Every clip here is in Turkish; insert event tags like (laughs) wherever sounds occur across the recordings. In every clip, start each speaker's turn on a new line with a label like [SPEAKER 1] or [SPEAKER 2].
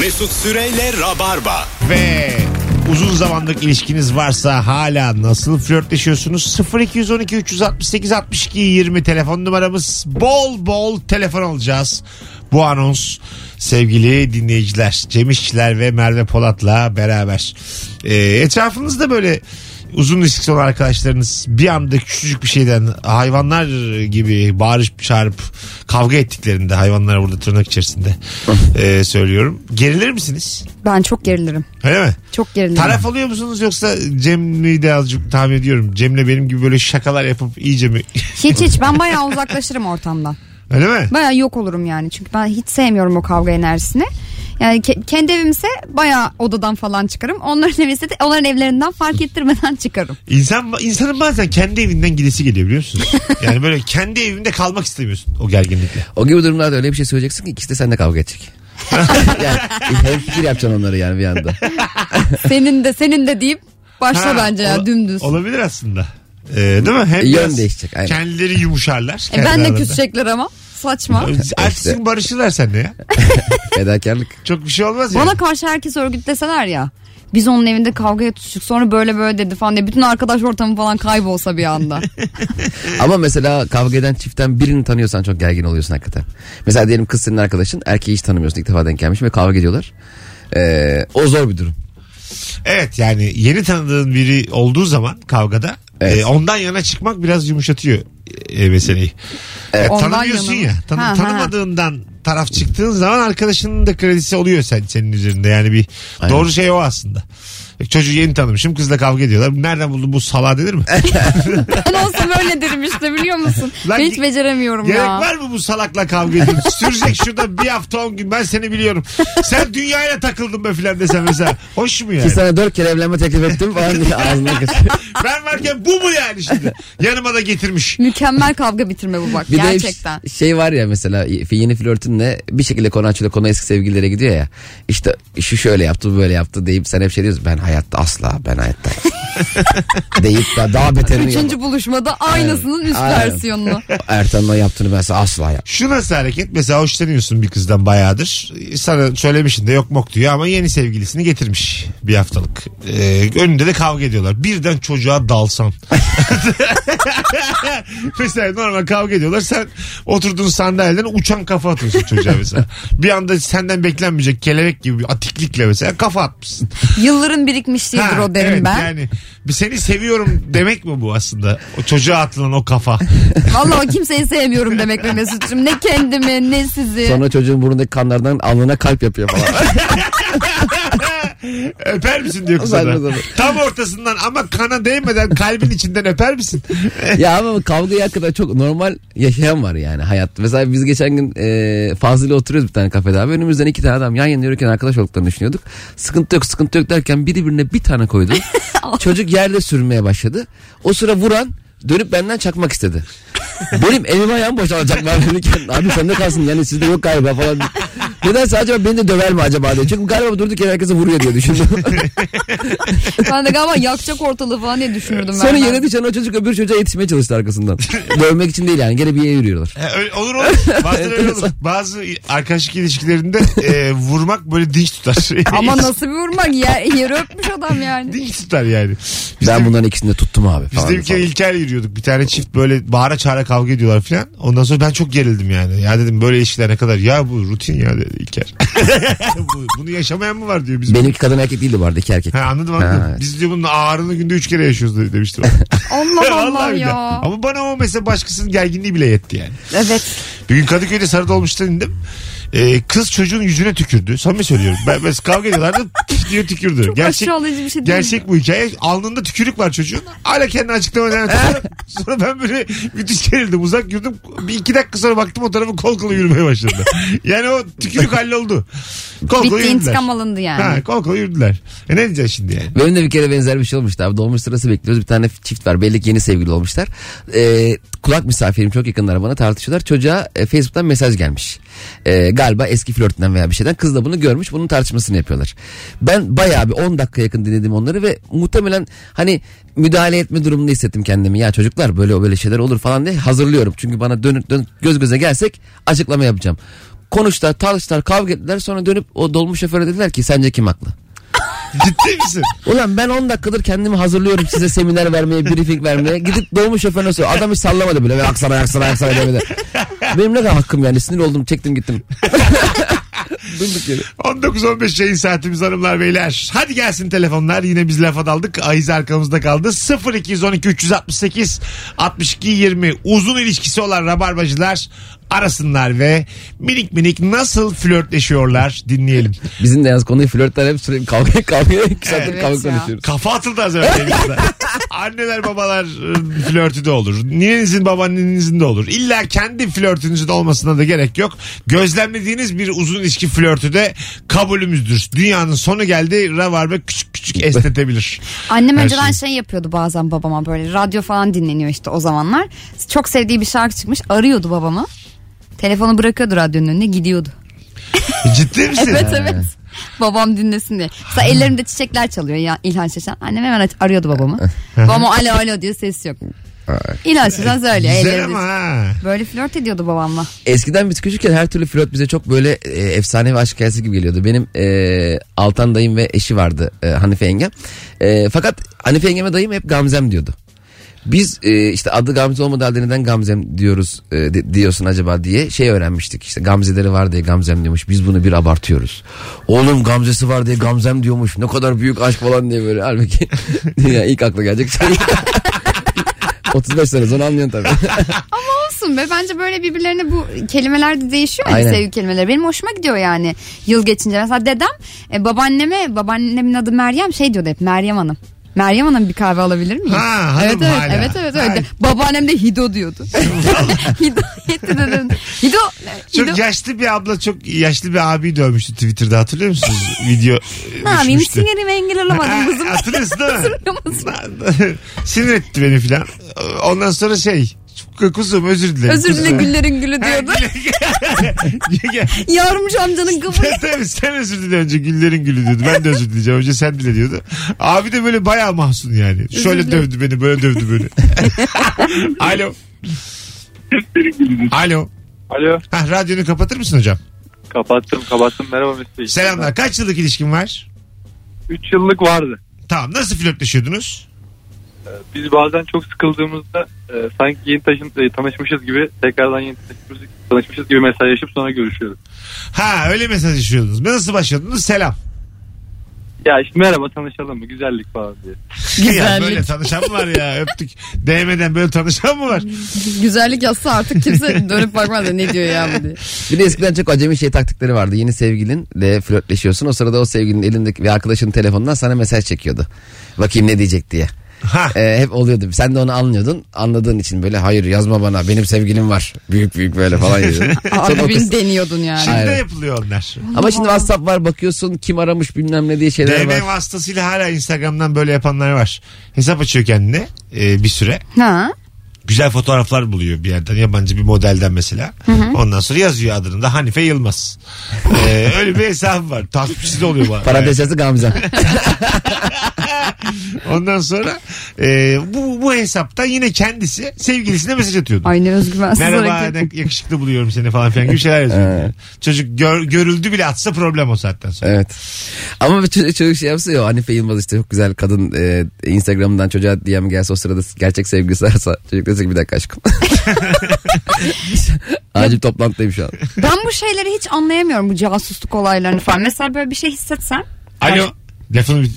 [SPEAKER 1] Mesut Süreyle Rabarba.
[SPEAKER 2] Ve uzun zamanlık ilişkiniz varsa hala nasıl flörtleşiyorsunuz? 0212 368 62 20 telefon numaramız. Bol bol telefon alacağız. Bu anons sevgili dinleyiciler Cem İşçiler ve Merve Polat'la beraber. Ee, etrafınızda böyle uzun ilişkisi olan arkadaşlarınız bir anda küçücük bir şeyden hayvanlar gibi bağırıp çağırıp kavga ettiklerinde hayvanlara burada tırnak içerisinde ee, söylüyorum. Gerilir misiniz?
[SPEAKER 3] Ben çok gerilirim.
[SPEAKER 2] Öyle mi?
[SPEAKER 3] Çok gerilirim.
[SPEAKER 2] Taraf alıyor musunuz yoksa Cem'i de azıcık tahmin ediyorum. Cem'le benim gibi böyle şakalar yapıp iyice mi? (laughs)
[SPEAKER 3] Hiç hiç ben bayağı uzaklaşırım ortamdan.
[SPEAKER 2] Öyle mi?
[SPEAKER 3] Bayağı yok olurum yani. Çünkü ben hiç sevmiyorum o kavga enerjisini. Yani ke- kendi evimse bayağı odadan falan çıkarım. Onların evimse de onların evlerinden fark ettirmeden çıkarım.
[SPEAKER 2] İnsan, insanın bazen kendi evinden gidesi geliyor biliyor musunuz? Yani böyle kendi evinde kalmak istemiyorsun o gerginlikle.
[SPEAKER 4] O gibi durumlarda öyle bir şey söyleyeceksin ki ikisi de seninle kavga (laughs) edecek. yani hem fikir yapacaksın onları yani bir anda.
[SPEAKER 3] Senin de senin de deyip başla
[SPEAKER 2] Ha,
[SPEAKER 3] bence ya
[SPEAKER 2] ola-
[SPEAKER 3] dümdüz.
[SPEAKER 2] Olabilir aslında. Ee, değil mi? Hem
[SPEAKER 4] Yön
[SPEAKER 2] biraz
[SPEAKER 4] değişecek, aynen.
[SPEAKER 2] Kendileri yumuşarlar.
[SPEAKER 3] E, ben de
[SPEAKER 2] kendilerinde.
[SPEAKER 3] küsecekler ama. Saçma.
[SPEAKER 2] Açsın barışırlar seninle ya.
[SPEAKER 4] Fedakarlık.
[SPEAKER 2] Çok bir şey olmaz ya.
[SPEAKER 3] Bana karşı herkes örgütleseler ya. Biz onun evinde kavgaya tutuştuk sonra böyle böyle dedi falan diye. Bütün arkadaş ortamı falan kaybolsa
[SPEAKER 2] (laughs)
[SPEAKER 3] bir anda.
[SPEAKER 4] Ama mesela kavga eden çiftten birini tanıyorsan çok gergin oluyorsun hakikaten. Mesela diyelim kız senin arkadaşın erkeği hiç tanımıyorsun ilk defa denk gelmiş ve kavga ediyorlar. Ee, o zor bir durum.
[SPEAKER 2] Evet yani yeni tanıdığın biri olduğu zaman kavgada
[SPEAKER 4] Evet.
[SPEAKER 2] e, ondan yana çıkmak biraz yumuşatıyor e, meseleyi. E,
[SPEAKER 3] Ondan
[SPEAKER 2] tanımıyorsun
[SPEAKER 3] yana mı?
[SPEAKER 2] ya. Tanı,
[SPEAKER 3] Ha, ha.
[SPEAKER 2] tanımadığından taraf çıktığın zaman arkadaşının da kredisi oluyor sen senin üzerinde. Yani bir
[SPEAKER 4] Aynen.
[SPEAKER 2] doğru şey o aslında. E, Çocuğu yeni tanımışım kızla kavga ediyorlar. Nereden buldun bu sala denir
[SPEAKER 3] (laughs)
[SPEAKER 2] mi?
[SPEAKER 3] Ben olsam öyle derim işte biliyor musun?
[SPEAKER 2] Lan
[SPEAKER 3] ben
[SPEAKER 2] ge-
[SPEAKER 3] hiç beceremiyorum
[SPEAKER 2] Gerek
[SPEAKER 3] ya.
[SPEAKER 2] var mı bu salakla kavga ediyorsun? Sürecek şurada bir hafta on gün ben seni biliyorum. Sen dünyayla takıldın be filan desen mesela. Hoş mu yani?
[SPEAKER 4] Ki sana dört kere evlenme teklif ettim falan diye ağzına kaçıyor.
[SPEAKER 2] Ben varken bu mu yani şimdi? Yanıma da getirmiş.
[SPEAKER 3] Mükemmel kavga bitirme bu bak
[SPEAKER 4] Bir
[SPEAKER 3] gerçekten.
[SPEAKER 4] de şey var ya mesela yeni flörtünle bir şekilde konu açılıyor konu eski sevgililere gidiyor ya. İşte şu şöyle yaptı bu böyle yaptı deyip sen hep şey diyorsun ben hayatta asla ben hayatta (laughs) deyip de daha beterini
[SPEAKER 3] Üçüncü buluşmada aynısının üst
[SPEAKER 4] Aynen. (laughs)
[SPEAKER 3] versiyonunu.
[SPEAKER 4] Ertan'ın o yaptığını ben size asla yap.
[SPEAKER 2] Şu nasıl hareket? Mesela hoşlanıyorsun bir kızdan bayağıdır. Sana söylemişsin de yok mok diyor ama yeni sevgilisini getirmiş bir haftalık. Ee, önünde de kavga ediyorlar. Birden çocuğa dalsan. (laughs) mesela normal kavga ediyorlar. Sen oturduğun sandalyeden uçan kafa atıyorsun çocuğa mesela. bir anda senden beklenmeyecek kelebek gibi bir atiklikle mesela kafa atmışsın.
[SPEAKER 3] Yılların birikmişliğidir
[SPEAKER 2] Ha,
[SPEAKER 3] o derim
[SPEAKER 2] evet,
[SPEAKER 3] ben.
[SPEAKER 4] (laughs)
[SPEAKER 2] Yani bir seni seviyorum demek mi bu aslında? O çocuğa atılan o kafa.
[SPEAKER 3] Vallahi kimseyi sevmiyorum demek be Mesut'cum. Ne kendimi ne sizi.
[SPEAKER 4] Sonra çocuğun burnundaki kanlardan alnına kalp yapıyor falan.
[SPEAKER 2] Öper misin diyor kıza
[SPEAKER 4] Saçma
[SPEAKER 2] da.
[SPEAKER 4] sapan.
[SPEAKER 2] Tam ortasından ama kana değmeden kalbin içinden öper misin?
[SPEAKER 4] ya ama kavgayı hakikaten çok normal yaşayan var yani hayat. Mesela biz geçen gün e, Fazlı'yla oturuyoruz bir tane kafede abi. Önümüzden iki tane adam yan yana yürürken arkadaş olduklarını düşünüyorduk. Sıkıntı yok sıkıntı yok derken biri birine bir tane koydu. Çocuk yerde sürmeye başladı. O sıra vuran dönüp benden çakmak istedi. Benim elim ayağım boşalacaklar verirken abi sen de kalsın yani sizde yok galiba falan. Nedense acaba beni de döver mi acaba diye. Çünkü galiba durduk yere herkese vuruyor diye düşündüm.
[SPEAKER 3] Ben de galiba yakacak ortalığı falan diye düşünürdüm
[SPEAKER 4] Sonra
[SPEAKER 3] ben.
[SPEAKER 4] yere düşen o çocuk öbür çocuğa yetişmeye çalıştı arkasından. Dövmek için değil yani gene bir yere yürüyorlar.
[SPEAKER 2] E, öyle- olur olur. Bazen öyle olur. Bazı arkadaşlık ilişkilerinde e, vurmak böyle dinç tutar.
[SPEAKER 3] (laughs) Ama nasıl bir vurmak ya yere öpmüş adam
[SPEAKER 4] (laughs)
[SPEAKER 3] yani.
[SPEAKER 2] dinç tutar yani. Biz
[SPEAKER 4] ben
[SPEAKER 2] de,
[SPEAKER 4] bunların ikisini de tuttum abi
[SPEAKER 2] biz
[SPEAKER 4] falan.
[SPEAKER 2] de bir kere
[SPEAKER 4] falan.
[SPEAKER 2] İlker yürüyorduk. Bir tane çift böyle bağıra çağıra kavga ediyorlar falan. Ondan sonra ben çok gerildim yani. Ya dedim böyle ilişkiler ne kadar. Ya bu rutin ya dedi İlker. (laughs) Bu- Bunu yaşamayan mı var diyor bizim.
[SPEAKER 4] Benimki kadın erkek değildi bu arada iki erkek.
[SPEAKER 2] Ha, anladım anladım.
[SPEAKER 4] Ha, evet.
[SPEAKER 2] Biz diyor bunun ağrını günde üç kere yaşıyoruz dedi- demişti bana.
[SPEAKER 3] Allah Allah
[SPEAKER 2] billahi.
[SPEAKER 3] ya.
[SPEAKER 2] Ama bana o mesela başkasının gerginliği bile yetti yani.
[SPEAKER 3] Evet.
[SPEAKER 2] Bir gün Kadıköy'de Sarıdolmuş'tan indim. Ee, kız çocuğun yüzüne tükürdü. Samimi söylüyorum. Ben, ben kalk ediyorlardı (laughs) püf diye tükürdü. gerçek,
[SPEAKER 3] aşağılayıcı bir şey değil
[SPEAKER 2] Gerçek bu hikaye. Alnında tükürük var çocuğun. Hala kendi açıklama devam ediyor.
[SPEAKER 3] (laughs)
[SPEAKER 2] (laughs) sonra, sonra ben böyle müthiş gerildim. Uzak yürüdüm. Bir iki dakika sonra baktım o tarafı kol kola yürümeye başladı. (laughs) Yani o tükürük halloldu. Kol kola
[SPEAKER 3] Bitti
[SPEAKER 2] yürüdüler.
[SPEAKER 3] intikam alındı yani.
[SPEAKER 2] Ha, kol kola yürüdüler. E ne diyeceksin şimdi yani? (laughs)
[SPEAKER 4] (laughs) Benim de bir kere benzer bir şey olmuştu abi. Dolmuş sırası bekliyoruz. Bir tane çift var. Belli ki yeni sevgili olmuşlar. Ee, kulak misafirim çok yakınlar bana tartışıyorlar. Çocuğa e, Facebook'tan mesaj gelmiş. Ee, galiba eski flörtünden veya bir şeyden. Kız da bunu görmüş. Bunun tartışmasını yapıyorlar. Ben bayağı bir 10 dakika yakın dinledim onları ve muhtemelen hani müdahale etme durumunda hissettim kendimi. Ya çocuklar böyle böyle şeyler olur falan diye hazırlıyorum. Çünkü bana dönüp dönüp göz göze gelsek açıklama yapacağım. Konuştular, tartıştılar, kavga ettiler. Sonra dönüp o dolmuş şoföre dediler ki sence kim haklı?
[SPEAKER 2] Ciddi misin?
[SPEAKER 4] Ulan ben 10 dakikadır kendimi hazırlıyorum size seminer vermeye, briefing vermeye. Gidip dolmuş şoförüne söylüyor. Adam hiç sallamadı bile. Ve aksana aksana aksana demedi. Benim ne kadar hakkım yani. Sinir oldum, çektim gittim.
[SPEAKER 3] (laughs)
[SPEAKER 4] Durduk yere.
[SPEAKER 2] 19-15 yayın saatimiz hanımlar beyler. Hadi gelsin telefonlar. Yine biz lafa daldık. Ayız arkamızda kaldı. 0212 368 62 20 uzun ilişkisi olan rabarbacılar arasınlar ve minik minik nasıl flörtleşiyorlar dinleyelim.
[SPEAKER 4] Bizim de yalnız konuyu flörtler hep sürekli kavga kavga. İki saattir
[SPEAKER 3] Evet
[SPEAKER 4] kavga
[SPEAKER 3] ya.
[SPEAKER 4] konuşuyoruz.
[SPEAKER 2] Kafa atıldı az önce. elimizden. Anneler babalar e, flörtü de olur. Ninenizin babaannenizin de olur. İlla kendi flörtünüzün olmasına da gerek yok. Gözlemlediğiniz bir uzun ilişki flörtü de kabulümüzdür. Dünyanın sonu geldi. Ravarbe küçük küçük esnetebilir.
[SPEAKER 3] Annem
[SPEAKER 2] Her
[SPEAKER 3] önceden
[SPEAKER 2] şeyi.
[SPEAKER 3] şey yapıyordu bazen babama böyle radyo falan dinleniyor işte o zamanlar. Çok sevdiği bir şarkı çıkmış arıyordu babamı. Telefonu bırakıyordu radyonun önüne gidiyordu.
[SPEAKER 2] Ciddi misin?
[SPEAKER 3] Evet evet. Babam dinlesin diye. Mesela ellerimde çiçekler çalıyor ya İlhan Şeşen. Annem hemen arıyordu babamı. Babam alo alo diyor ses yok. İlhan Şeşen söylüyor.
[SPEAKER 2] Güzel
[SPEAKER 3] ellerimde-
[SPEAKER 2] ama ha.
[SPEAKER 3] Böyle flört ediyordu babamla.
[SPEAKER 4] Eskiden biz küçükken her türlü flört bize çok böyle e, efsane ve aşk hikayesi gibi geliyordu. Benim e, Altan dayım ve eşi vardı e, Hanife yengem. E, fakat Hanife yengeme dayım hep Gamzem diyordu. Biz e, işte adı Gamze olmadığı halde neden Gamzem diyoruz e, di- diyorsun acaba diye şey öğrenmiştik. İşte Gamzeleri var diye Gamzem diyormuş. Biz bunu bir abartıyoruz. Oğlum Gamzesi var diye Gamzem diyormuş. Ne kadar büyük aşk falan diye böyle. Halbuki (laughs) ya ilk akla gelecek (laughs) şey. 35 sene sonra anlıyorsun tabii.
[SPEAKER 3] Olsun be bence böyle birbirlerine bu kelimeler de değişiyor ya
[SPEAKER 4] Aynen.
[SPEAKER 3] sevgi kelimeleri. Benim hoşuma gidiyor yani yıl geçince. Mesela dedem e, babaanneme babaannemin adı Meryem şey diyordu hep Meryem Hanım. Meryem Hanım bir kahve alabilir miyim?
[SPEAKER 2] Ha, hanım
[SPEAKER 3] evet, evet,
[SPEAKER 2] hala.
[SPEAKER 3] evet evet
[SPEAKER 2] Ay.
[SPEAKER 3] evet. Babaannem de Hido
[SPEAKER 2] (laughs)
[SPEAKER 3] diyordu. (laughs) Hido etti dedim. Hido.
[SPEAKER 2] Çok
[SPEAKER 3] Hido.
[SPEAKER 2] yaşlı bir abla çok yaşlı bir abi dövmüştü Twitter'da hatırlıyor musunuz? Video ıı,
[SPEAKER 3] Ne yapayım
[SPEAKER 2] düşmüştü.
[SPEAKER 3] sinirimi engel olamadım kızım.
[SPEAKER 2] Ha, Hatırlıyorsun değil mi?
[SPEAKER 3] Hatırlıyorsun.
[SPEAKER 2] (laughs) Sinir etti beni filan. Ondan sonra şey kuzum özür dilerim.
[SPEAKER 3] Özür dile
[SPEAKER 2] kuzum. (laughs)
[SPEAKER 3] güllerin gülü diyordu. Yarmış amcanın kıvı.
[SPEAKER 2] Tabii sen özür dile önce güllerin gülü diyordu. Ben de özür dileyeceğim. Önce sen dile diyordu. Abi de böyle bayağı mahzun yani. Şöyle dövdü beni böyle dövdü
[SPEAKER 3] (laughs)
[SPEAKER 2] beni. Alo. Alo.
[SPEAKER 5] Alo.
[SPEAKER 2] Hah, radyonu kapatır mısın hocam?
[SPEAKER 5] Kapattım kapattım. Merhaba Mesut Bey.
[SPEAKER 2] Selamlar. Kaç yıllık ilişkin var?
[SPEAKER 5] 3 yıllık vardı.
[SPEAKER 2] Tamam. Nasıl flörtleşiyordunuz?
[SPEAKER 5] Biz bazen çok sıkıldığımızda e, sanki yeni taşın, e, tanışmışız gibi tekrardan yeni tanışmışız, tanışmışız gibi mesajlaşıp sonra görüşüyoruz.
[SPEAKER 2] Ha öyle mesajlaşıyordunuz. Nasıl başladınız? Selam.
[SPEAKER 5] Ya işte merhaba tanışalım mı güzellik falan diye.
[SPEAKER 2] Ya
[SPEAKER 3] Güzellik.
[SPEAKER 2] böyle tanışan mı var
[SPEAKER 4] (laughs)
[SPEAKER 2] ya öptük. DM'den böyle tanışan mı var?
[SPEAKER 3] Güzellik yazsa artık kimse dönüp bakmaz da ne diyor ya bu diye.
[SPEAKER 4] Bir de eskiden çok acemi şey taktikleri vardı. Yeni sevgilinle flörtleşiyorsun. O sırada o sevgilinin elindeki ve arkadaşının telefonundan sana mesaj çekiyordu. Bakayım ne diyecek diye.
[SPEAKER 2] Ha.
[SPEAKER 4] Ee, hep oluyordu. Sen de onu anlıyordun. Anladığın için böyle hayır yazma bana. Benim sevgilim var. Büyük büyük böyle falan (laughs) yazıyordun. Sonra o kız-
[SPEAKER 3] Abim deniyordun yani.
[SPEAKER 2] Şimdi de
[SPEAKER 4] Aynen.
[SPEAKER 2] yapılıyor onlar.
[SPEAKER 4] Ama şimdi WhatsApp var bakıyorsun kim aramış bilmem ne diye şeyler var.
[SPEAKER 2] DM vasıtasıyla hala Instagram'dan böyle yapanlar var. Hesap açıyor kendine e, bir süre.
[SPEAKER 3] Ha?
[SPEAKER 2] Güzel fotoğraflar buluyor bir yerden yabancı bir modelden mesela. Ondan sonra yazıyor adını da Hanife Yılmaz. E, öyle bir hesap var. Takipçisi de oluyor bana.
[SPEAKER 4] Parantez yazı Gamze.
[SPEAKER 2] Ondan sonra e, bu, bu hesapta yine kendisi sevgilisine mesaj atıyordu.
[SPEAKER 3] Ay ne özgüvensiz
[SPEAKER 2] Merhaba
[SPEAKER 3] hareket.
[SPEAKER 2] ne yakışıklı buluyorum seni falan filan gibi şeyler yazıyor. Çocuk gör- görüldü bile atsa problem o saatten sonra.
[SPEAKER 4] Evet. Ama bir çocuk, çocuk şey yapsa ya Hanife Yılmaz işte çok güzel kadın e, Instagram'dan çocuğa DM gelse o sırada gerçek sevgilisi ararsa (laughs) çocuk dese ki bir dakika aşkım. Acil toplantıdayım şu an.
[SPEAKER 3] Ben bu şeyleri hiç anlayamıyorum bu casusluk olaylarını falan. Mesela böyle bir şey hissetsem.
[SPEAKER 2] Alo. Lafını bir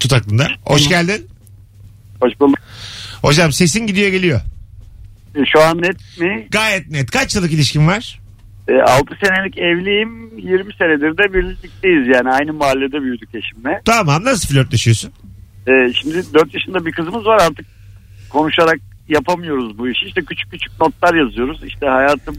[SPEAKER 2] tut aklında. Hoş geldin.
[SPEAKER 5] Hoş bulduk.
[SPEAKER 2] Hocam sesin gidiyor geliyor.
[SPEAKER 5] Şu an net mi?
[SPEAKER 2] Gayet net. Kaç yıllık ilişkin var?
[SPEAKER 5] 6 senelik evliyim. 20 senedir de birlikteyiz yani. Aynı mahallede büyüdük eşimle.
[SPEAKER 2] Tamam nasıl flörtleşiyorsun?
[SPEAKER 5] Ee, şimdi 4 yaşında bir kızımız var artık konuşarak yapamıyoruz bu işi. İşte küçük küçük notlar yazıyoruz. İşte hayatım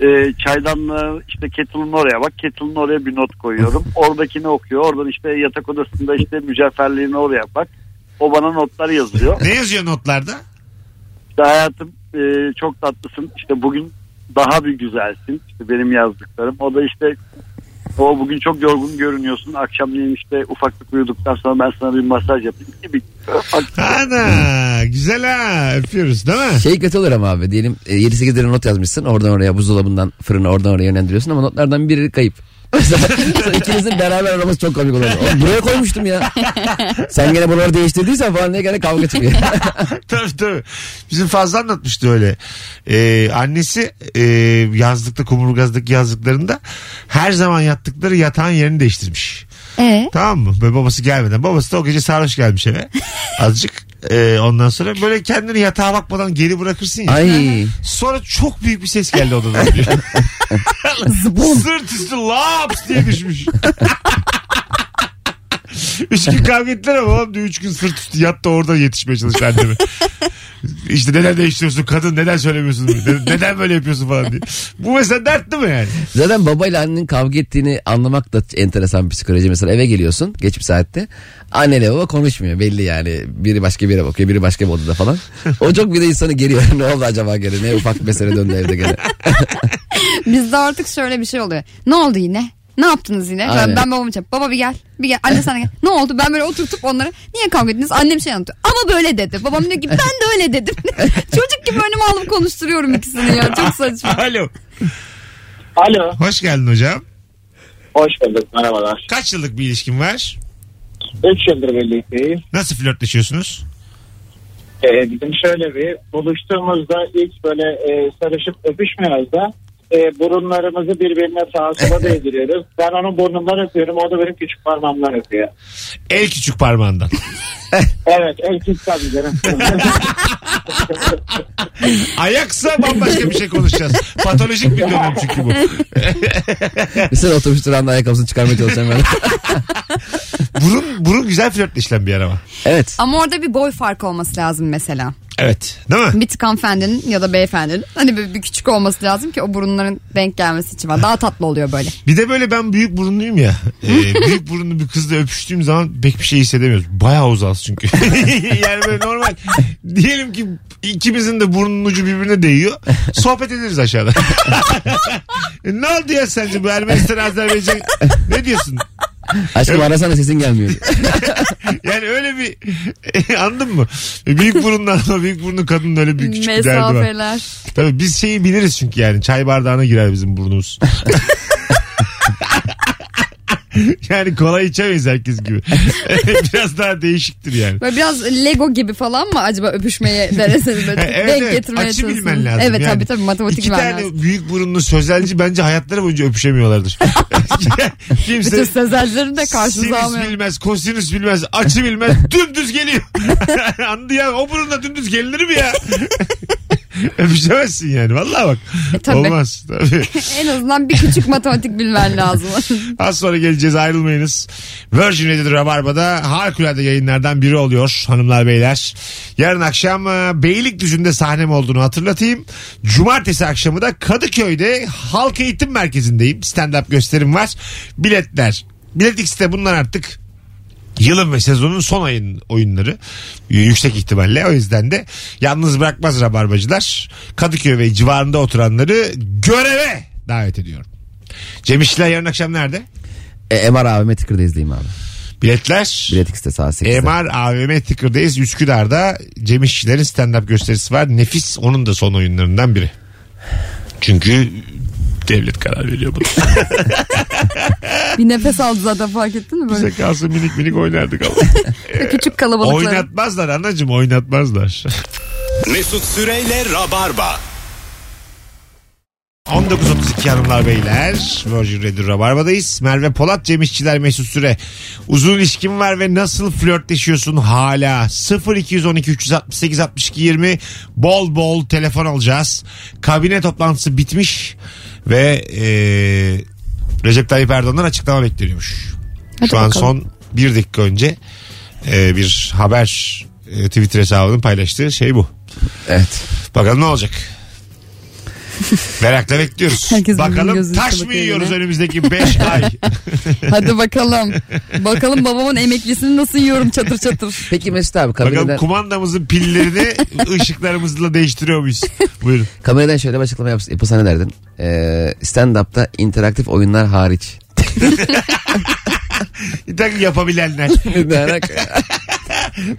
[SPEAKER 5] e, çaydanlığı işte kettle'ın oraya bak kettle'ın oraya bir not koyuyorum. Oradakini okuyor. Oradan işte yatak odasında işte mücevherliğini oraya bak. O bana notlar yazıyor.
[SPEAKER 2] Ne yazıyor notlarda?
[SPEAKER 5] İşte hayatım e, çok tatlısın. İşte bugün daha bir güzelsin. İşte benim yazdıklarım. O da işte O bugün çok yorgun görünüyorsun. Akşamleyin işte ufaklık uyuduktan sonra ben sana bir masaj yapayım
[SPEAKER 6] (laughs)
[SPEAKER 5] gibi.
[SPEAKER 2] Ana güzel ha öpüyoruz değil mi?
[SPEAKER 4] Şey kötü olur ama abi diyelim e, 7-8 lira not yazmışsın oradan oraya buzdolabından fırına oradan oraya yönlendiriyorsun ama notlardan biri kayıp. (laughs) Mesela mesela ikinizin beraber araması çok komik olur. Oğlum buraya koymuştum ya. Sen gene buraları değiştirdiysen falan diye gene kavga çıkıyor.
[SPEAKER 2] (laughs) tabii tabii. Bizim fazla anlatmıştı öyle. Ee, annesi e, yazlıkta kumurgazdaki yazlıklarında her zaman yattıkları yatağın yerini değiştirmiş.
[SPEAKER 3] Ee?
[SPEAKER 2] Tamam mı? Böyle babası gelmeden. Babası da o gece sarhoş gelmiş eve. Azıcık. Ee, ondan sonra böyle kendini yatağa bakmadan geri bırakırsın ya.
[SPEAKER 4] Ay.
[SPEAKER 2] Sonra çok büyük bir ses geldi odadan. Sırt üstü laps diye düşmüş. (laughs) üç gün kavga ettiler ama oğlum diyor, üç gün sırt üstü yattı orada yetişmeye çalıştı annemi. İşte neden değiştiriyorsun kadın neden söylemiyorsun Ne- neden böyle yapıyorsun falan diye. Bu mesela dert değil mi yani?
[SPEAKER 4] Zaten babayla annenin kavga ettiğini anlamak da enteresan bir psikoloji. Mesela eve geliyorsun geç bir saatte. Anneyle baba konuşmuyor belli yani. Biri başka bir yere bakıyor biri başka bir odada falan. O çok bir de insanı geriyor. (laughs) ne oldu acaba gene ne ufak mesele döndü evde gene.
[SPEAKER 3] Bizde artık şöyle bir şey oluyor. Ne oldu yine? Ne yaptınız yine?
[SPEAKER 4] Aynen.
[SPEAKER 3] Ben, ben babamı çağırıp baba bir gel. Bir gel. Anne sana gel. Ne oldu? Ben böyle oturtup onlara niye kavga ettiniz? Annem şey anlatıyor. Ama böyle dedi. Babam diyor ki ben de öyle dedim. (laughs) Çocuk gibi önüme alıp konuşturuyorum ikisini ya. Çok saçma.
[SPEAKER 2] Alo.
[SPEAKER 6] Alo.
[SPEAKER 2] Hoş geldin hocam.
[SPEAKER 6] Hoş bulduk. Merhabalar.
[SPEAKER 2] Kaç yıllık bir ilişkin var?
[SPEAKER 6] 3 yıldır birlikteyiz.
[SPEAKER 2] Nasıl flörtleşiyorsunuz?
[SPEAKER 6] Ee, bizim şöyle bir buluştuğumuzda ilk böyle e, sarışıp öpüşmüyoruz da e, burunlarımızı birbirine
[SPEAKER 5] (laughs)
[SPEAKER 6] sağa sola değdiriyoruz. Ben onun burnundan öpüyorum. O da benim küçük parmağımdan öpüyor.
[SPEAKER 2] El küçük parmağından.
[SPEAKER 6] Evet. En
[SPEAKER 5] (laughs)
[SPEAKER 6] küçük tabii canım.
[SPEAKER 2] Ayaksa bambaşka bir şey konuşacağız. Patolojik bir dönem çünkü bu.
[SPEAKER 4] Mesela otobüs durağında ayakkabısını çıkarmaya çalışacağım ben. (laughs)
[SPEAKER 2] Burun, burun güzel flörtleşilen bir yer ama.
[SPEAKER 4] evet.
[SPEAKER 3] Ama orada bir boy farkı olması lazım mesela.
[SPEAKER 2] Evet. Değil mi?
[SPEAKER 3] Bir tık hanımefendinin ya da beyefendinin hani bir, bir küçük olması lazım ki o burunların denk gelmesi için var. Daha tatlı oluyor böyle.
[SPEAKER 2] Bir de böyle ben büyük burunluyum ya. Ee, büyük burunlu bir kızla öpüştüğüm zaman pek bir şey hissedemiyoruz. Bayağı uzağız çünkü. (laughs) yani böyle normal. Diyelim ki ikimizin de burnunun ucu birbirine değiyor. Sohbet ederiz aşağıda. (laughs) E, ne oldu ya sence bu Ermenistan Azerbaycan? Ne diyorsun?
[SPEAKER 4] Aşkım arasana sesin gelmiyor.
[SPEAKER 2] Yani öyle bir (laughs) anladın mı? E, Büyük burundan ama büyük burunlu kadının öyle bir küçük bir derdi var.
[SPEAKER 3] Mesafeler.
[SPEAKER 2] Tabii biz şeyi biliriz çünkü yani çay bardağına girer bizim burnumuz. (laughs) yani kolay içemeyiz herkes gibi. (laughs) Biraz daha değişiktir yani.
[SPEAKER 3] Böyle biraz Lego gibi falan mı acaba
[SPEAKER 2] (laughs)
[SPEAKER 3] öpüşmeye deneseniz böyle
[SPEAKER 2] Evet,
[SPEAKER 3] denk
[SPEAKER 2] evet.
[SPEAKER 3] getirmeye
[SPEAKER 2] Açı bilmen
[SPEAKER 3] çalışsanız?
[SPEAKER 2] lazım
[SPEAKER 3] Evet
[SPEAKER 2] yani.
[SPEAKER 3] tabii tabii matematik
[SPEAKER 2] İki
[SPEAKER 3] bilmen
[SPEAKER 2] tane
[SPEAKER 3] lazım.
[SPEAKER 2] büyük burunlu sözelci bence hayatları boyunca öpüşemiyorlardır.
[SPEAKER 3] (laughs)
[SPEAKER 2] (laughs)
[SPEAKER 3] Bütün
[SPEAKER 2] Kimse
[SPEAKER 3] sezerlerini de karşınıza
[SPEAKER 2] sinüs
[SPEAKER 3] almıyor.
[SPEAKER 2] bilmez, kosinüs bilmez, açı bilmez, (laughs) dümdüz geliyor. Anladın ya o burunla dümdüz gelinir mi ya? (laughs) Öpüşemezsin yani vallahi bak.
[SPEAKER 3] E, tabii.
[SPEAKER 2] Olmaz tabii.
[SPEAKER 3] En azından bir küçük matematik bilmen lazım.
[SPEAKER 2] (laughs) Az sonra geleceğiz ayrılmayınız. Virgin Radio Rabarba'da harikulade yayınlardan biri oluyor hanımlar beyler. Yarın akşam e, Beylikdüzü'nde sahnem olduğunu hatırlatayım. Cumartesi akşamı da Kadıköy'de Halk Eğitim Merkezi'ndeyim. Stand-up gösterim var. Biletler. Bilet X'te bunlar artık yılın ve sezonun son ayın oyunları Y- yüksek ihtimalle. O yüzden de yalnız bırakmaz rabarbacılar. Kadıköy ve civarında oturanları göreve davet ediyorum. Cem İşçiler yarın akşam nerede?
[SPEAKER 4] E, MR AVM Tıkır'da izleyeyim abi.
[SPEAKER 2] Biletler.
[SPEAKER 4] Bilet X'te saat 8'de.
[SPEAKER 2] MR AVM Tıkır'dayız. Üsküdar'da Cem İşçilerin stand-up gösterisi var. Nefis onun da son oyunlarından biri. Çünkü devlet karar veriyor buna.
[SPEAKER 3] bir nefes aldı zaten fark ettin mi? Böyle
[SPEAKER 2] Bize kalsın minik minik oynardık ama.
[SPEAKER 3] küçük kalabalıklar.
[SPEAKER 2] oynatmazlar anacığım oynatmazlar.
[SPEAKER 1] Mesut Süreyle Rabarba.
[SPEAKER 2] 19.32 hanımlar beyler. Virgin Radio Rabarba'dayız. Merve Polat, Cem İşçiler, Mesut Süre. Uzun ilişkin var ve nasıl flörtleşiyorsun hala? 0212 368 62 20 bol bol telefon alacağız. Kabine toplantısı bitmiş ve eee Recep Tayyip Erdoğan'dan açıklama bekleniyormuş. Şu an son bir dakika önce eee, bir haber eee, Twitter hesabının paylaştığı şey bu.
[SPEAKER 4] Evet.
[SPEAKER 2] Bakalım ne olacak. Merakla
[SPEAKER 3] (laughs)
[SPEAKER 2] bekliyoruz.
[SPEAKER 3] Herkes birbirinin
[SPEAKER 2] Bakalım
[SPEAKER 3] gözüne
[SPEAKER 2] taş mı
[SPEAKER 3] bakıyor
[SPEAKER 2] yiyoruz
[SPEAKER 3] yine. (laughs)
[SPEAKER 2] önümüzdeki 5 ay? (laughs)
[SPEAKER 3] Hadi bakalım. Bakalım babamın emeklisini nasıl yiyorum çatır çatır.
[SPEAKER 4] Peki Mesut abi
[SPEAKER 2] Bakalım
[SPEAKER 4] kameradan,
[SPEAKER 2] kumandamızın
[SPEAKER 3] (laughs)
[SPEAKER 2] pillerini ışıklarımızla değiştiriyor muyuz? Buyurun.
[SPEAKER 4] kameradan şöyle bir açıklama yapsa, yapılsa ne derdin? Ee, Stand-up'ta interaktif E, oyunlar hariç.
[SPEAKER 2] Bir takım yapabilenler.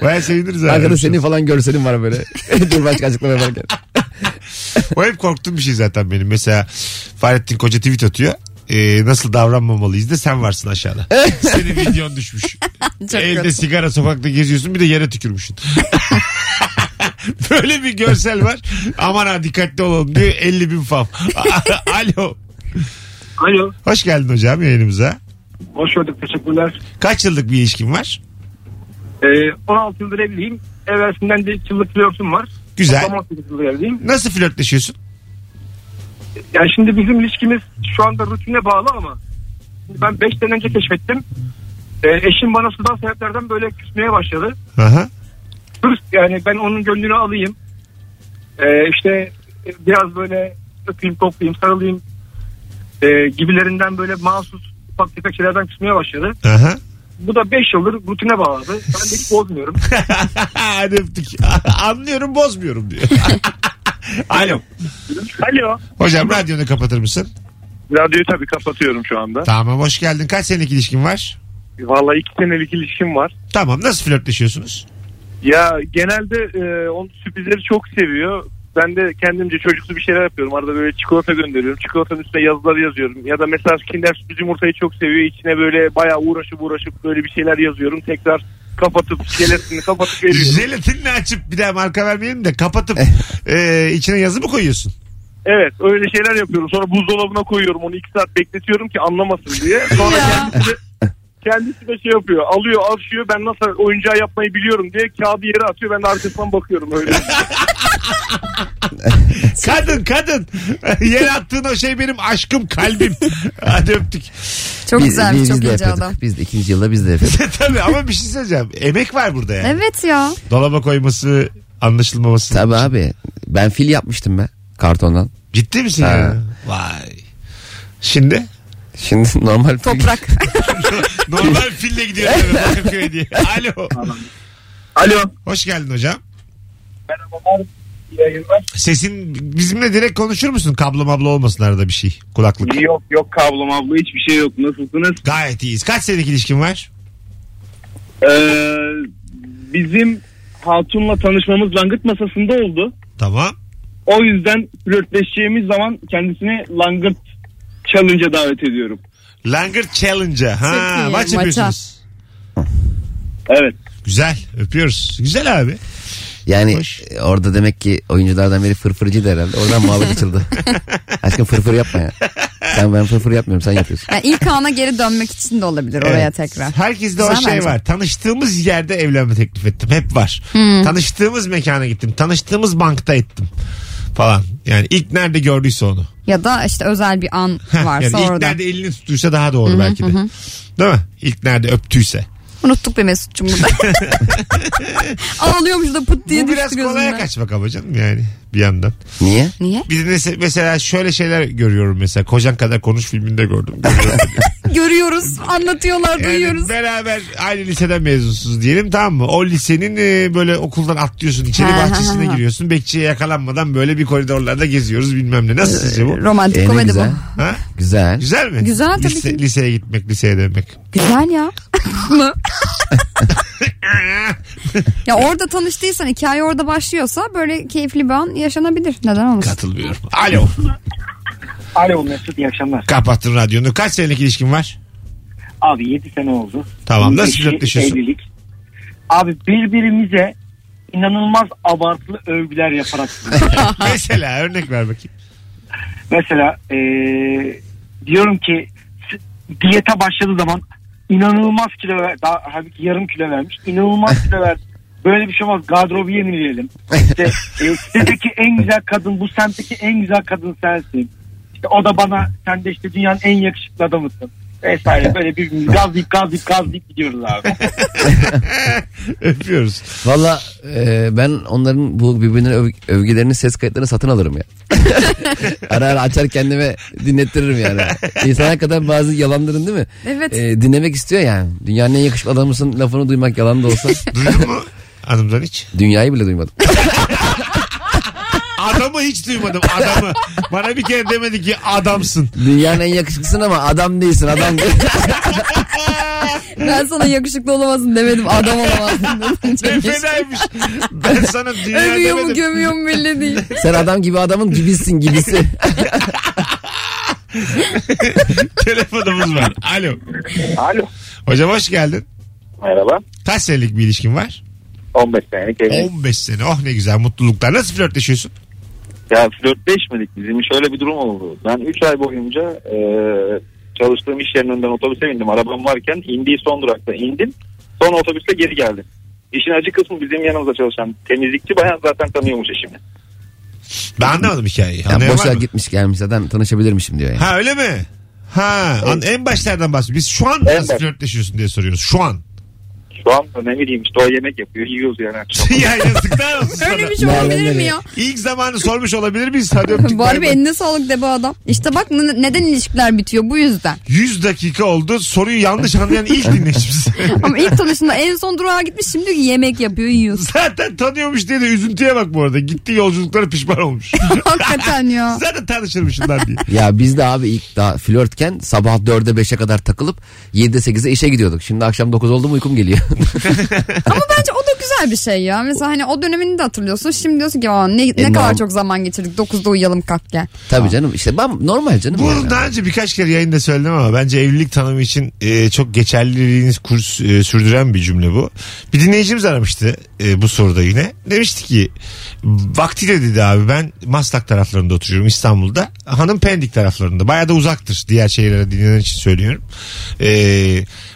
[SPEAKER 2] Baya seviniriz abi.
[SPEAKER 4] Arkada seni falan görselim var
[SPEAKER 3] (laughs)
[SPEAKER 4] böyle. (laughs) Dur başka açıklama yaparken.
[SPEAKER 2] O hep korktuğum bir şey zaten benim. Mesela Fahrettin Koca tweet atıyor. Ee, nasıl davranmamalıyız da sen varsın aşağıda. Senin videon düşmüş.
[SPEAKER 3] Çok
[SPEAKER 2] Elde
[SPEAKER 3] kötü.
[SPEAKER 2] sigara sokakta geziyorsun bir de yere tükürmüşsün. (laughs) Böyle bir görsel var. Aman ha dikkatli olalım diyor. 50 bin fav. (laughs) Alo.
[SPEAKER 7] Alo.
[SPEAKER 2] Hoş geldin hocam yayınımıza.
[SPEAKER 7] Hoş gördük. Teşekkürler.
[SPEAKER 2] Kaç yıllık bir ilişkin var?
[SPEAKER 7] Ee, 16 yıldır evliyim. Evvelsinden de iki yıllık flörtüm var.
[SPEAKER 2] Güzel.
[SPEAKER 7] Toplam 18 yıldır evliyim.
[SPEAKER 2] Nasıl flörtleşiyorsun?
[SPEAKER 7] Yani şimdi bizim ilişkimiz şu anda rutine bağlı ama ben 5 sene önce keşfettim. Ee, eşim bana sudan sebeplerden böyle küsmeye başladı.
[SPEAKER 2] Aha.
[SPEAKER 7] Sırf yani ben onun gönlünü alayım. Ee, işte biraz böyle öpeyim, koklayayım, sarılayım ee, gibilerinden böyle mahsus ufak tefek şeylerden küsmeye başladı.
[SPEAKER 2] Aha. (laughs)
[SPEAKER 7] Bu da 5 yıldır rutine bağladı. Ben de hiç bozmuyorum.
[SPEAKER 2] Hadi öptük. (laughs) Anlıyorum bozmuyorum diyor. (laughs) Alo.
[SPEAKER 7] Alo.
[SPEAKER 2] Hocam radyonu kapatır mısın?
[SPEAKER 7] Radyoyu tabii kapatıyorum şu anda.
[SPEAKER 2] Tamam hoş geldin. Kaç senelik ilişkin var?
[SPEAKER 7] Vallahi iki senelik ilişkim var.
[SPEAKER 2] Tamam nasıl flörtleşiyorsunuz?
[SPEAKER 7] Ya genelde e, onun sürprizleri çok seviyor. Ben de kendimce çocuksu bir şeyler yapıyorum. Arada böyle çikolata gönderiyorum. Çikolatanın üstüne yazılar yazıyorum. Ya da mesela Kinder sürpriz yumurtayı çok seviyor. İçine böyle bayağı uğraşıp uğraşıp böyle bir şeyler yazıyorum. Tekrar kapatıp jelatini kapatıp veriyorum.
[SPEAKER 2] Jelatinle açıp bir daha marka vermeyelim de kapatıp e, içine yazı mı koyuyorsun?
[SPEAKER 7] Evet öyle şeyler yapıyorum. Sonra buzdolabına koyuyorum. Onu iki saat bekletiyorum ki anlamasın diye. Sonra
[SPEAKER 3] Ya.
[SPEAKER 7] kendisi de, kendisi de şey yapıyor. Alıyor alışıyor. Ben nasıl oyuncağı yapmayı biliyorum diye kağıdı yere atıyor. Ben de arkasından bakıyorum öyle. şey
[SPEAKER 2] Kadın kadın. (laughs) Yer attığın o şey benim aşkım kalbim. Hadi öptük. (laughs)
[SPEAKER 3] Çok güzel, çok ince
[SPEAKER 4] de yapıyorduk.
[SPEAKER 3] adam.
[SPEAKER 4] Biz de ikinci yılda biz
[SPEAKER 3] (laughs)
[SPEAKER 4] de yapıyorduk.
[SPEAKER 2] Tabii ama bir şey söyleyeceğim. Emek var burada yani.
[SPEAKER 3] Evet ya.
[SPEAKER 2] Dolaba koyması anlaşılmaması.
[SPEAKER 4] Tabii abi. Ben fil yapmıştım ben kartondan.
[SPEAKER 2] Ciddi misin
[SPEAKER 4] Ha.
[SPEAKER 2] yani? Vay. Şimdi? (laughs)
[SPEAKER 4] Şimdi (laughs) normal fil-
[SPEAKER 3] Toprak.
[SPEAKER 2] Normal fille gidiyor eve, Bakırköy diye. Alo.
[SPEAKER 7] Alo.
[SPEAKER 2] Hoş geldin hocam.
[SPEAKER 6] Merhabalar. iyi yayınlar.
[SPEAKER 2] Sesin bizimle direkt konuşur musun? Kablo mablo olmasın arada bir şey. Kulaklık.
[SPEAKER 6] Yok yok kablo mablo hiçbir şey yok. Nasılsınız?
[SPEAKER 2] Gayet iyiyiz. Kaç senelik ilişkin var?
[SPEAKER 6] Ee, bizim hatunla tanışmamız langırt masasında oldu.
[SPEAKER 2] Tamam.
[SPEAKER 6] O yüzden flörtleşeceğimiz zaman kendisini langırt challenge'a davet ediyorum.
[SPEAKER 2] Langırt Challenge'a. Ha,
[SPEAKER 3] Çok iyi.
[SPEAKER 2] maç
[SPEAKER 3] Maça.
[SPEAKER 2] yapıyorsunuz.
[SPEAKER 6] Evet.
[SPEAKER 2] Güzel. Öpüyoruz. Güzel abi.
[SPEAKER 4] Yani
[SPEAKER 2] Hoş.
[SPEAKER 4] e, orada demek ki oyunculardan biri fırfırcıydı herhalde. Oradan
[SPEAKER 3] (laughs)
[SPEAKER 4] muhabbet açıldı. Aşkım fırfır yapma ya. Sen ben fırfır yapmıyorum sen yapıyorsun.
[SPEAKER 3] Yani ilk ana geri dönmek için de olabilir oraya
[SPEAKER 2] Evet.
[SPEAKER 3] tekrar.
[SPEAKER 2] Herkeste o
[SPEAKER 3] Güzel
[SPEAKER 2] şey
[SPEAKER 3] bence.
[SPEAKER 2] var. Tanıştığımız yerde evlenme teklif ettim. Hep var.
[SPEAKER 3] Hmm.
[SPEAKER 2] Tanıştığımız mekana gittim. Tanıştığımız bankta ettim. Falan. Yani ilk nerede gördüyse onu.
[SPEAKER 3] Ya da işte özel bir an
[SPEAKER 2] Heh,
[SPEAKER 3] varsa
[SPEAKER 2] yani ilk
[SPEAKER 3] orada.
[SPEAKER 2] nerede elini tuttuysa daha doğru belki de. Değil mi? İlk nerede öptüyse.
[SPEAKER 3] Unuttuk be
[SPEAKER 2] (laughs)
[SPEAKER 3] Mesut'cum burada. Ağlıyormuş da pıt diye
[SPEAKER 2] Bu biraz
[SPEAKER 3] düştü
[SPEAKER 2] kolaya
[SPEAKER 3] gözümden.
[SPEAKER 2] kaçmak ama canım yani bir yandan.
[SPEAKER 4] Niye?
[SPEAKER 3] Niye?
[SPEAKER 2] Bir de nese- mesela şöyle şeyler görüyorum mesela. Kocan kadar konuş filminde
[SPEAKER 3] (laughs)
[SPEAKER 2] gördüm. Görüyorum.
[SPEAKER 3] Görüyoruz, anlatıyorlar, duyuyoruz.
[SPEAKER 2] Yani beraber aynı liseden mezunsunuz diyelim tamam mı? O lisenin e, böyle okuldan atlıyorsun içeri
[SPEAKER 3] Ha,
[SPEAKER 2] bahçesine
[SPEAKER 3] ha, ha.
[SPEAKER 2] giriyorsun. Bekçiye yakalanmadan böyle bir koridorlarda geziyoruz bilmem ne. Nasıl sizce bu?
[SPEAKER 3] Romantik
[SPEAKER 4] E, ne
[SPEAKER 3] komedi bu.
[SPEAKER 4] güzel.
[SPEAKER 2] Ha?
[SPEAKER 4] Güzel.
[SPEAKER 2] Güzel mi?
[SPEAKER 3] Güzel tabii
[SPEAKER 2] Lise-
[SPEAKER 3] ki.
[SPEAKER 2] Liseye gitmek, liseye dönmek.
[SPEAKER 3] Güzel ya. (laughs)
[SPEAKER 2] (laughs)
[SPEAKER 3] Mı? ya orada tanıştıysan hikaye orada başlıyorsa böyle keyifli bir an yaşanabilir. Neden olmasın?
[SPEAKER 2] Katılmıyorum. Alo.
[SPEAKER 7] Alo Mesut iyi akşamlar.
[SPEAKER 2] Kapattın radyonu. Kaç senelik ilişkin
[SPEAKER 3] (laughs)
[SPEAKER 2] var?
[SPEAKER 7] Abi 7 sene oldu.
[SPEAKER 2] Tamam. Nasıl
[SPEAKER 7] Eşi,
[SPEAKER 2] flörtleşiyorsun?
[SPEAKER 7] Evlilik. Abi birbirimize inanılmaz abartılı övgüler yaparak.
[SPEAKER 2] Mesela örnek ver bakayım.
[SPEAKER 7] Mesela eee, diyorum ki s- diyete başladığı zaman inanılmaz kilo ver, daha halbuki yarım kilo vermiş. İnanılmaz kilo verdi. Böyle bir şey olmaz. Gardırobu yenileyelim. İşte e, sitedeki en güzel kadın, bu semtteki en güzel kadın sensin. İşte o da bana sen de işte dünyanın en yakışıklı adamısın. Vesaire böyle bir gazlayıp gazlayıp gazlayıp gidiyoruz abi.
[SPEAKER 2] Öpüyoruz.
[SPEAKER 4] Valla e, ben onların bu birbirine öv- övgülerini ses kayıtlarını satın
[SPEAKER 3] (laughs)
[SPEAKER 4] alırım ya. ara ara açar kendime dinlettiririm yani. İnsan kadar bazı yalanların değil mi?
[SPEAKER 3] Evet.
[SPEAKER 4] E, dinlemek istiyor yani. Dünyanın en yakışıklı adamısın lafını
[SPEAKER 3] (laughs)
[SPEAKER 4] duymak yalan da olsa
[SPEAKER 2] Duydun mu? Hanımdan hiç.
[SPEAKER 4] dünyayı bile duymadım.
[SPEAKER 2] adamı hiç duymadım adamı. Bana bir kere demedi ki adamsın.
[SPEAKER 4] Dünyanın en yakışıklısın ama adam değilsin adam.
[SPEAKER 3] Ben sana yakışıklı olamazsın demedim. (laughs) Adam olamazsın dedim. Çok
[SPEAKER 2] Ne
[SPEAKER 3] yaşa.
[SPEAKER 2] fenaymış. Ben sana dünya
[SPEAKER 3] (laughs) Övüyor mu
[SPEAKER 2] demedim.
[SPEAKER 3] gömüyor mu belli değil.
[SPEAKER 4] Sen adam gibi adamın gibisin gibisi.
[SPEAKER 2] Telefonumuz var. Alo.
[SPEAKER 6] Alo.
[SPEAKER 2] Hocam hoş geldin.
[SPEAKER 6] Merhaba.
[SPEAKER 2] Kaç senelik bir ilişkin var?
[SPEAKER 6] 15 senelik evliyim.
[SPEAKER 2] 15 sene. Oh ne güzel mutluluklar. Nasıl flörtleşiyorsun?
[SPEAKER 6] Ya flörtleşmedik bizim şöyle bir durum oldu. Ben 3 ay boyunca e, çalıştığım iş yerinin önünden otobüse bindim. Arabam varken indiği son durakta indim. Sonra otobüste geri geldim. İşin acı kısmı bizim yanımızda çalışan temizlikçi bayan zaten tanıyormuş eşimi.
[SPEAKER 2] Ben anlamadım hikayeyi.
[SPEAKER 4] Yani
[SPEAKER 2] Anlayan var
[SPEAKER 4] boşa
[SPEAKER 2] mı?
[SPEAKER 4] gitmiş gelmiş zaten tanışabilirmişim diyor yani.
[SPEAKER 2] Ha öyle mi? Ha an, en başlardan bahsediyoruz. Biz şu an nasıl
[SPEAKER 6] baş-
[SPEAKER 2] flörtleşiyorsun diye soruyoruz. Şu an. (laughs)
[SPEAKER 6] Şu an ne bileyim işte o yemek yapıyor yiyoruz yani akşam.
[SPEAKER 2] ya yazıklar olsun (laughs) sana.
[SPEAKER 3] Öyle bir şey olabilir mi ya?
[SPEAKER 2] İlk zamanı sormuş olabilir miyiz? Hadi öptük.
[SPEAKER 3] Bu
[SPEAKER 2] bay
[SPEAKER 3] arada
[SPEAKER 2] bay.
[SPEAKER 3] eline sağlık de bu adam. İşte bak ne- neden ilişkiler bitiyor bu yüzden.
[SPEAKER 2] 100 dakika oldu. Soruyu yanlış anlayan ilk dinleyicimiz. (laughs)
[SPEAKER 3] (laughs) Ama ilk tanıştığında en son durağa gitmiş şimdi diyor ki yemek yapıyor yiyorsun.
[SPEAKER 2] (laughs) Zaten tanıyormuş diye de üzüntüye bak bu arada. Gitti yolculuklara pişman
[SPEAKER 3] (laughs)
[SPEAKER 2] olmuş.
[SPEAKER 3] Hakikaten ya.
[SPEAKER 2] Zaten tanışırmışlar diye.
[SPEAKER 4] Ya biz de abi ilk daha flörtken sabah 4'e 5'e kadar takılıp 7'de 8'e işe gidiyorduk. Şimdi akşam 9 oldu mu uykum geliyor. (laughs)
[SPEAKER 3] Ama bence o da güzel bir şey ya. Mesela hani o dönemini de hatırlıyorsun. Şimdi diyorsun ki "Aa, ne, ne
[SPEAKER 4] norm-
[SPEAKER 3] kadar çok zaman geçirdik 9'da uyuyalım kalk gel.
[SPEAKER 4] Tabii canım işte ben normal canım.
[SPEAKER 2] Bunu
[SPEAKER 4] yani.
[SPEAKER 2] daha önce birkaç kere yayında söyledim ama bence evlilik tanımı için e, çok geçerliliğini kurs, e, sürdüren bir cümle bu. Bir dinleyicimiz aramıştı e, bu soruda yine. Demişti ki vaktiyle dedi abi ben Maslak taraflarında oturuyorum İstanbul'da. Hanım Pendik taraflarında. Bayağı da uzaktır diğer şehirlere dinlenen için söylüyorum. E,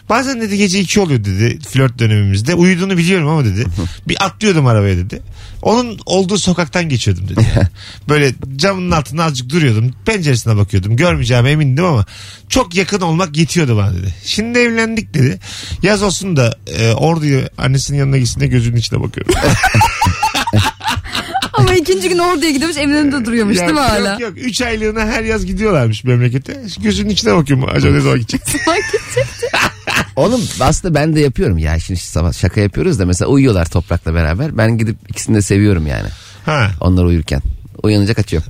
[SPEAKER 2] bazen dedi gece 2 oluyor dedi flört dönemimizde. Uyuduğunu biliyorum ama dedi. Bir atlıyordum arabaya dedi. Onun olduğu sokaktan geçiyordum dedi. yani. Böyle camının altında azıcık duruyordum. Penceresine bakıyordum. Görmeyeceğime emindim ama çok yakın olmak yetiyordu bana dedi. Şimdi evlendik dedi. Yaz olsun da e, orduya annesinin yanına gitsin de gözünün içine bakıyorum.
[SPEAKER 3] Ama ikinci gün orduya gidiyormuş evin önünde (laughs) duruyormuş
[SPEAKER 2] Ya
[SPEAKER 3] değil mi
[SPEAKER 2] yok,
[SPEAKER 3] hala?
[SPEAKER 2] Yok
[SPEAKER 3] (laughs)
[SPEAKER 2] 3 aylığına her yaz gidiyorlarmış memlekete. Gözünün içine bakıyorum acaba ne zaman gidecek.
[SPEAKER 4] Oğlum aslında ben de yapıyorum ya. Şimdi sabah şaka yapıyoruz da mesela uyuyorlar toprakla beraber. Ben gidip ikisini de seviyorum yani.
[SPEAKER 2] Ha.
[SPEAKER 4] Onlar uyurken. Uyanınca kaçıyorum.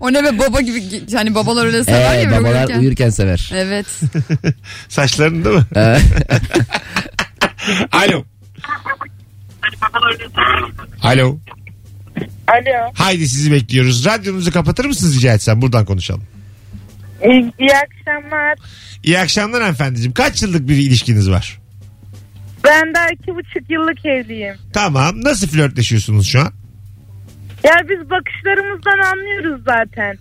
[SPEAKER 3] o ne be baba gibi yani babalar öyle sever
[SPEAKER 4] Ee,
[SPEAKER 3] ya böyle
[SPEAKER 4] babalar
[SPEAKER 3] uyurken.
[SPEAKER 4] uyurken sever.
[SPEAKER 3] Evet.
[SPEAKER 2] Saçların değil mi?
[SPEAKER 4] Ee,
[SPEAKER 2] Alo. Alo.
[SPEAKER 8] Alo.
[SPEAKER 2] Haydi sizi bekliyoruz. Radyonuzu kapatır mısınız rica etsem? Buradan konuşalım.
[SPEAKER 8] İyi, iyi akşamlar.
[SPEAKER 2] İyi akşamlar hanımefendiciğim. Kaç yıllık bir ilişkiniz var?
[SPEAKER 8] Ben daha iki buçuk yıllık evliyim.
[SPEAKER 2] Tamam. Nasıl flörtleşiyorsunuz şu an? (laughs)
[SPEAKER 8] Ya biz bakışlarımızdan anlıyoruz zaten.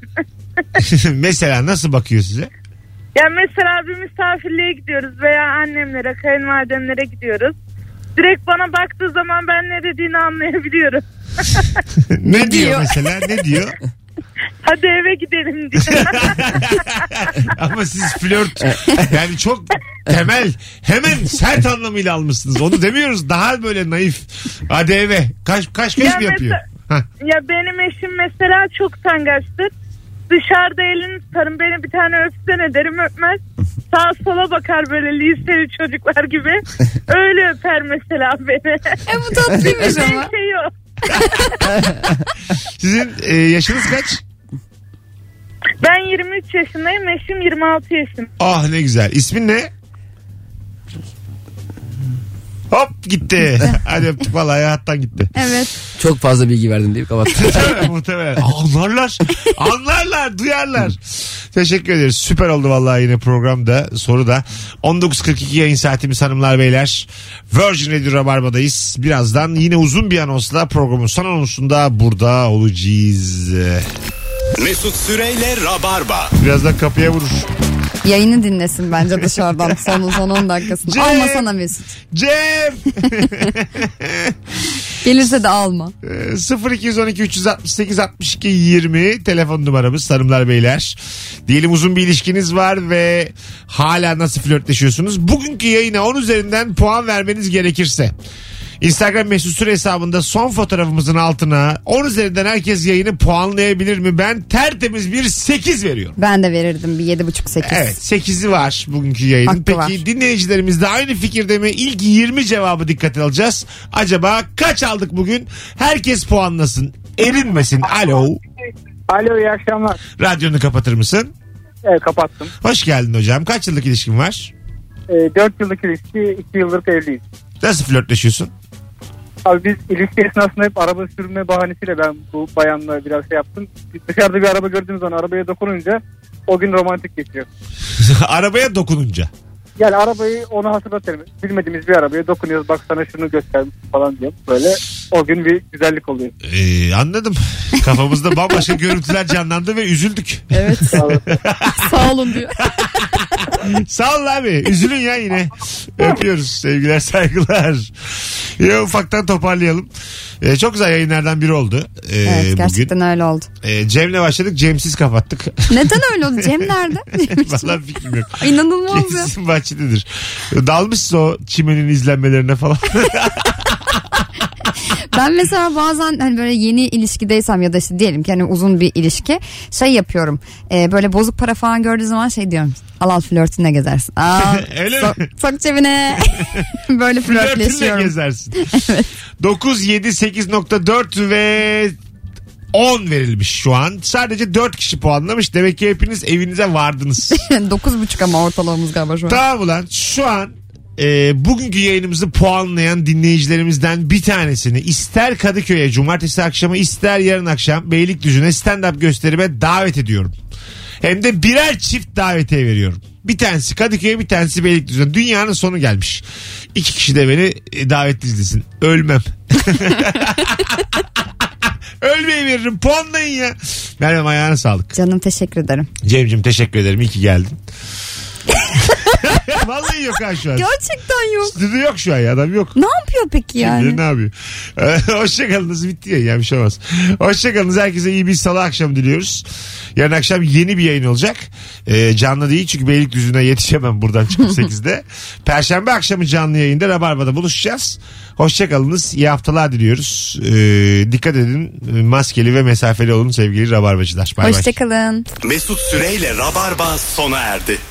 [SPEAKER 8] (laughs)
[SPEAKER 2] Mesela nasıl bakıyor size?
[SPEAKER 8] ya mesela bir misafirliğe gidiyoruz veya annemlere, kayınvalidemlere gidiyoruz. Direkt bana baktığı zaman ben ne dediğini anlayabiliyorum.
[SPEAKER 2] ne diyor
[SPEAKER 3] diyor?
[SPEAKER 2] mesela? Ne diyor?
[SPEAKER 8] Hadi eve gidelim diyor.
[SPEAKER 2] Ama siz flört yani çok temel hemen sert anlamıyla almışsınız. Onu demiyoruz. Daha böyle naif. Hadi eve. Kaç kaç kaç
[SPEAKER 8] Ya
[SPEAKER 2] mı yapıyor? Hah.
[SPEAKER 8] ya benim eşim mesela çok tangaçtır. Dışarıda elini tutarım beni bir tane öpsene derim öpmez. Sağa sola bakar böyle liseli çocuklar gibi. Öyle öper mesela beni.
[SPEAKER 3] E bu
[SPEAKER 2] (laughs)
[SPEAKER 3] tatlıymış ama.
[SPEAKER 8] Benim şey o.
[SPEAKER 2] Sizin e, yaşınız kaç?
[SPEAKER 8] Ben 23 yaşındayım, eşim 26 yaşında.
[SPEAKER 2] Ah ne güzel. İsmin ne? Hop gitti. Hadi öptük vallahi hayattan gitti.
[SPEAKER 3] Evet.
[SPEAKER 4] (laughs) çok fazla bilgi verdim deyip kapattım.
[SPEAKER 2] Tabii, (laughs) Muhtemelen. Anlarlar. Anlarlar. Duyarlar. Teşekkür ederiz. Süper oldu vallahi yine programda. Soru da. 19.42 yayın saatimiz hanımlar beyler. Virgin Radio Rabarba'dayız. Birazdan yine uzun bir anonsla programın son anonsunda burada olacağız.
[SPEAKER 1] Mesut Süreyle Rabarba.
[SPEAKER 2] Birazdan kapıya vurur.
[SPEAKER 3] Yayını dinlesin bence dışarıdan son, son 10 dakikasını.
[SPEAKER 2] Cem.
[SPEAKER 3] Alma sana Mesut.
[SPEAKER 2] Cem!
[SPEAKER 3] Gelirse de alma.
[SPEAKER 2] Ee, 0212 368 62 20 telefon numaramız hanımlar beyler. Diyelim uzun bir ilişkiniz var ve hala nasıl flörtleşiyorsunuz? Bugünkü yayına 10 üzerinden puan vermeniz gerekirse. Instagram mesut süre hesabında son fotoğrafımızın altına 10 üzerinden herkes yayını puanlayabilir mi? Ben tertemiz bir 8 veriyorum.
[SPEAKER 3] Ben de verirdim bir 7,5-8.
[SPEAKER 2] Evet 8'i var bugünkü yayının.
[SPEAKER 3] Hakkı
[SPEAKER 2] Peki
[SPEAKER 3] var.
[SPEAKER 2] dinleyicilerimiz de aynı fikirde mi? İlk 20 cevabı dikkate alacağız. Acaba kaç aldık bugün? Herkes puanlasın. erinmesin. Alo.
[SPEAKER 6] Alo iyi akşamlar.
[SPEAKER 2] Radyonu kapatır mısın?
[SPEAKER 6] Evet kapattım.
[SPEAKER 2] Hoş geldin hocam. Kaç yıllık ilişkin var?
[SPEAKER 6] E, 4 yıllık ilişki 2 yıldır evliyiz.
[SPEAKER 2] Nasıl flörtleşiyorsun? (laughs)
[SPEAKER 6] Abi biz ilişki esnasında hep araba sürme bahanesiyle ben bu bayanla biraz şey yaptım. Dışarıda bir araba gördüğüm zaman arabaya dokununca o gün romantik geçiyor.
[SPEAKER 2] Arabaya dokununca.
[SPEAKER 6] Yani arabayı ona hatırlatırım. Bilmediğimiz bir arabaya dokunuyoruz. Bak sana şunu göstermiş falan diyorum. Böyle o gün bir güzellik oluyor.
[SPEAKER 2] Ee, anladım. Kafamızda bambaşka görüntüler canlandı ve üzüldük.
[SPEAKER 3] Evet. Sağ
[SPEAKER 2] (laughs)
[SPEAKER 3] olun diyor.
[SPEAKER 2] Sağ ol abi. Üzülün ya yine. Öpüyoruz. Sevgiler saygılar. Ya ufaktan toparlayalım. Ee, çok güzel yayınlardan biri oldu. Ee,
[SPEAKER 3] Evet
[SPEAKER 2] bugün.
[SPEAKER 3] gerçekten öyle oldu.
[SPEAKER 2] Ee, Cem'le başladık. Cem'siz
[SPEAKER 3] (laughs)
[SPEAKER 2] kapattık.
[SPEAKER 3] Neden öyle oldu?
[SPEAKER 2] (laughs)
[SPEAKER 3] Cem nerede?
[SPEAKER 2] Vallahi fikrim yok.
[SPEAKER 3] İnanılmaz ya.
[SPEAKER 2] Kesin bahçededir. Dalmışsın o çimenin izlenmelerine falan.
[SPEAKER 3] (laughs) Ben mesela bazen hani böyle yeni ilişkideysem ya da işte diyelim ki hani uzun bir ilişki şey yapıyorum. E, böyle bozuk para falan gördüğü zaman şey diyorum. Al al flörtünle gezersin.
[SPEAKER 2] (laughs)
[SPEAKER 3] Aa,
[SPEAKER 2] Öyle
[SPEAKER 3] sok,
[SPEAKER 2] mi?
[SPEAKER 3] sok cebine. (laughs) böyle
[SPEAKER 2] Flörtünle
[SPEAKER 3] flörtleşiyorum. (laughs)
[SPEAKER 2] gezersin. 9, 7, 8.4 ve 10 verilmiş şu an. Sadece 4 kişi puanlamış. Demek ki hepiniz evinize vardınız.
[SPEAKER 3] (laughs) 9.5 ama ortalamamız galiba şu an.
[SPEAKER 2] Tamam ulan şu an e, bugünkü yayınımızı puanlayan dinleyicilerimizden bir tanesini ister Kadıköy'e cumartesi akşamı ister yarın akşam Beylikdüzü'ne stand-up gösterime davet ediyorum. Hem de birer çift davetiye veriyorum. Bir tanesi Kadıköy'e bir tanesi Beylikdüzü'ne. Dünyanın sonu gelmiş. İki kişi de beni e, davetli izlesin. Ölmem. (laughs) Ölmeyi veririm. Puanlayın ya. Merhaba ayağına sağlık.
[SPEAKER 3] Canım teşekkür ederim.
[SPEAKER 2] Cem'cim teşekkür ederim. İyi ki geldin. Vallahi yok ha şu an.
[SPEAKER 3] Gerçekten yok.
[SPEAKER 2] Stüdyo yok şu an ya adam yok.
[SPEAKER 3] Ne yapıyor peki yani?
[SPEAKER 2] Bilir Ne yapıyor? (laughs) Hoşçakalınız bitti ya yani bir şey olmaz. Hoşçakalınız herkese iyi bir salı akşamı diliyoruz. Yarın akşam yeni bir yayın olacak. Ee, canlı değil çünkü Beylikdüzü'ne yetişemem buradan çıkıp 8'de. Perşembe akşamı canlı yayında Rabarba'da buluşacağız. Hoşçakalınız iyi haftalar diliyoruz. Ee, dikkat edin maskeli ve mesafeli olun sevgili Rabarbacılar. Bay bay.
[SPEAKER 3] Hoşçakalın.
[SPEAKER 1] Mesut Süreyle Rabarba sona erdi.